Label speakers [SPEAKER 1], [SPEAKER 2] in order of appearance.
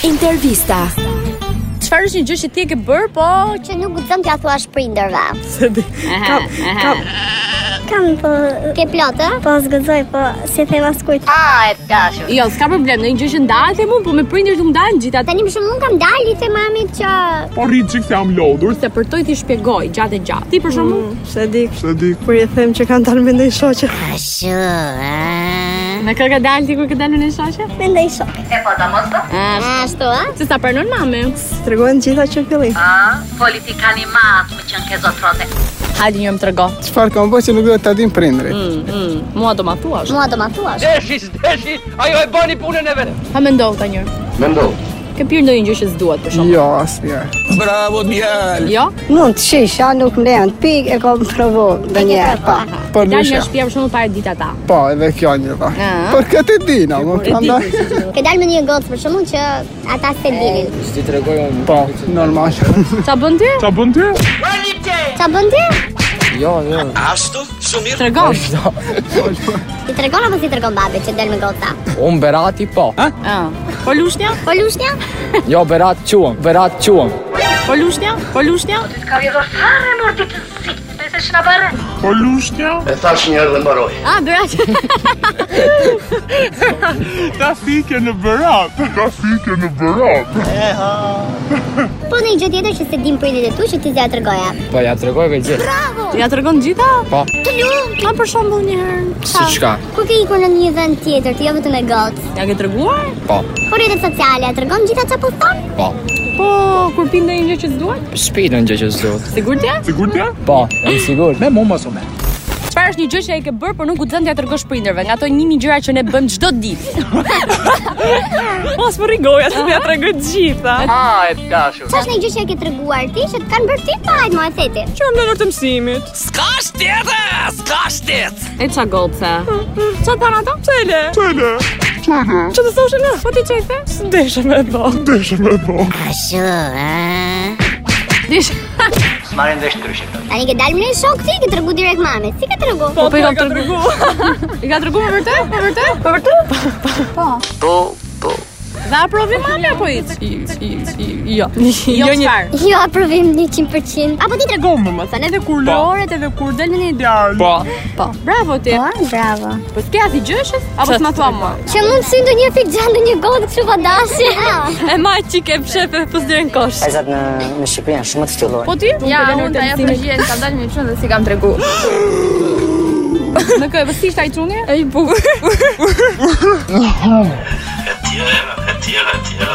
[SPEAKER 1] Intervista.
[SPEAKER 2] Çfarë është një gjë që ti e ke bër, po
[SPEAKER 3] që nuk guxon t'ia thuash prindërve.
[SPEAKER 2] kam kam
[SPEAKER 3] Kam po ke plotë? Po zgëzoj, po si them askujt.
[SPEAKER 2] jo, s'ka problem, ndonjë gjë që ndahet e mund, po me prindër të ndahen gjithat.
[SPEAKER 3] Tani më shumë un kam dalë i them mamit që
[SPEAKER 4] Po rritë që këtë jam lodhur
[SPEAKER 2] Se për to i ti shpjegoj gjatë e gjatë. Ti për shembull,
[SPEAKER 5] Se di,
[SPEAKER 4] Se di
[SPEAKER 5] kur i them që kanë dalë me ndonjë shoqe.
[SPEAKER 2] me kë ka dalë ti kur ke dalë në shoqe?
[SPEAKER 3] mendoj shok.
[SPEAKER 2] Ah,
[SPEAKER 3] Ashtu ë?
[SPEAKER 2] se sa pranon mami.
[SPEAKER 5] Tregojnë gjitha që në fillim.
[SPEAKER 6] politikani matë më qënë ke zotrote.
[SPEAKER 2] Hajde një më trego.
[SPEAKER 7] Çfarë kam bërë që nuk duhet ta din prindrit?
[SPEAKER 2] Mm, mm, mua do ma thuash.
[SPEAKER 3] Mua do ma thuash.
[SPEAKER 2] Ha mendoj ta një.
[SPEAKER 8] Mendo.
[SPEAKER 2] Ke pirë ndonjë gjë që s'duhet për shembull.
[SPEAKER 7] Jo, asnjëherë.
[SPEAKER 8] Bravo djal.
[SPEAKER 2] Jo?
[SPEAKER 5] Mund të shisha, nuk më lejon të pik, e kam provuar ndonjëherë pa.
[SPEAKER 7] Për
[SPEAKER 2] Dal nga
[SPEAKER 7] lëshja.
[SPEAKER 2] shtëpia për shembull para ditë ata.
[SPEAKER 7] Po, edhe kjo një dha.
[SPEAKER 2] Ah.
[SPEAKER 7] Për këtë e dina, më prandaj.
[SPEAKER 3] Ke dalë me një gocë për shkakun që ata se dinin.
[SPEAKER 8] Ti tregoj unë.
[SPEAKER 7] Po, normal.
[SPEAKER 2] Ça bën ti?
[SPEAKER 4] Qa bën ty?
[SPEAKER 3] Ça bën ti?
[SPEAKER 8] Jo, jo.
[SPEAKER 2] Tregon.
[SPEAKER 3] Ti tregon apo si tregon babi që del me goca?
[SPEAKER 8] Unë Berati po.
[SPEAKER 2] Ah. Po lushnja?
[SPEAKER 3] Po lushnja?
[SPEAKER 8] Jo, Berat quam, Berat quam.
[SPEAKER 2] Po lushnja? Po lushnja?
[SPEAKER 4] Po lushnja?
[SPEAKER 9] E thash një herë dhe mbaroj.
[SPEAKER 2] Ah, bëra që
[SPEAKER 4] Ta fike në bërat Ta fike në
[SPEAKER 8] Jo.
[SPEAKER 4] bërat
[SPEAKER 3] Po në gjë tjetër që se din prindit e tu që ti s'ia tregoja.
[SPEAKER 8] Po ja tregoj me gjithë.
[SPEAKER 2] ja tregon gjitha?
[SPEAKER 8] Po.
[SPEAKER 2] Të lum. Ma për shembull një herë.
[SPEAKER 8] Si çka?
[SPEAKER 3] Kur ke ikur në një vend tjetër, ti jo vetëm me gocë.
[SPEAKER 2] Ja ke treguar?
[SPEAKER 8] Po.
[SPEAKER 3] Po rrjetet sociale, a tregon gjitha çfarë po thon?
[SPEAKER 8] Po.
[SPEAKER 2] Po, kur pin ndonjë gjë që s'duhet?
[SPEAKER 8] Shtëpi në gjë që s'duhet.
[SPEAKER 2] Sigurt je?
[SPEAKER 4] Sigur t'ja?
[SPEAKER 8] Po, jam i sigurt. Me mua mos u me.
[SPEAKER 2] Çfarë është një gjë që e ke bër, por nuk guxon t'ia tregosh prindërve, nga ato 1000 gjëra që ne bëjmë çdo ditë. Mos më rrigoja se më ja tregoj të gjitha.
[SPEAKER 3] Ç'është një gjë që e ke treguar ti që të kanë bërë ti pa hajtë mua e theti?
[SPEAKER 2] Që më ndonjë të mësimit.
[SPEAKER 6] Ska shtjetë, ska shtjetë.
[SPEAKER 2] E ça golce? Ça tan ato? Çele.
[SPEAKER 4] Tële
[SPEAKER 2] Ço të thoshë ne? Po ti çefe? S'desha me bë.
[SPEAKER 4] Deshe me bo
[SPEAKER 2] Desh.
[SPEAKER 9] Smarin dhe shtryshe.
[SPEAKER 3] Tani ke dalë me një shok ti, ke tregu direkt mamit. Si ke tregu?
[SPEAKER 2] Po po ja ka treguar. I ka treguar për vërtet? Për vërtet? Për vërtet? Po.
[SPEAKER 9] Po, po.
[SPEAKER 2] Dhe aprovi mami apo hiç? Jo. Jo çfarë?
[SPEAKER 3] Jo aprovim 100%. Apo ti tregu?
[SPEAKER 2] Gomë më thënë edhe kur
[SPEAKER 6] Po.
[SPEAKER 2] loret edhe kur del në një djalë.
[SPEAKER 8] Po.
[SPEAKER 2] Po. Bravo ti.
[SPEAKER 3] bravo.
[SPEAKER 2] Po s'ke asnjë gjëshës apo s'ma thua më?
[SPEAKER 3] Që mund sy ndonjë fik gjatë ndonjë godë kështu po pa dashje.
[SPEAKER 2] E ma çik e pshef e pos deri në kosh.
[SPEAKER 6] Ajzat në, në Shqipëri janë shumë të ftyllur.
[SPEAKER 2] Po ti? Ja, unë ta jap përgjigjen, kam dalë më çon dhe si kam tregu. Në kë, po si ishte ai çuni? Ai bukur.
[SPEAKER 9] E tjera, e tjera, e tjera.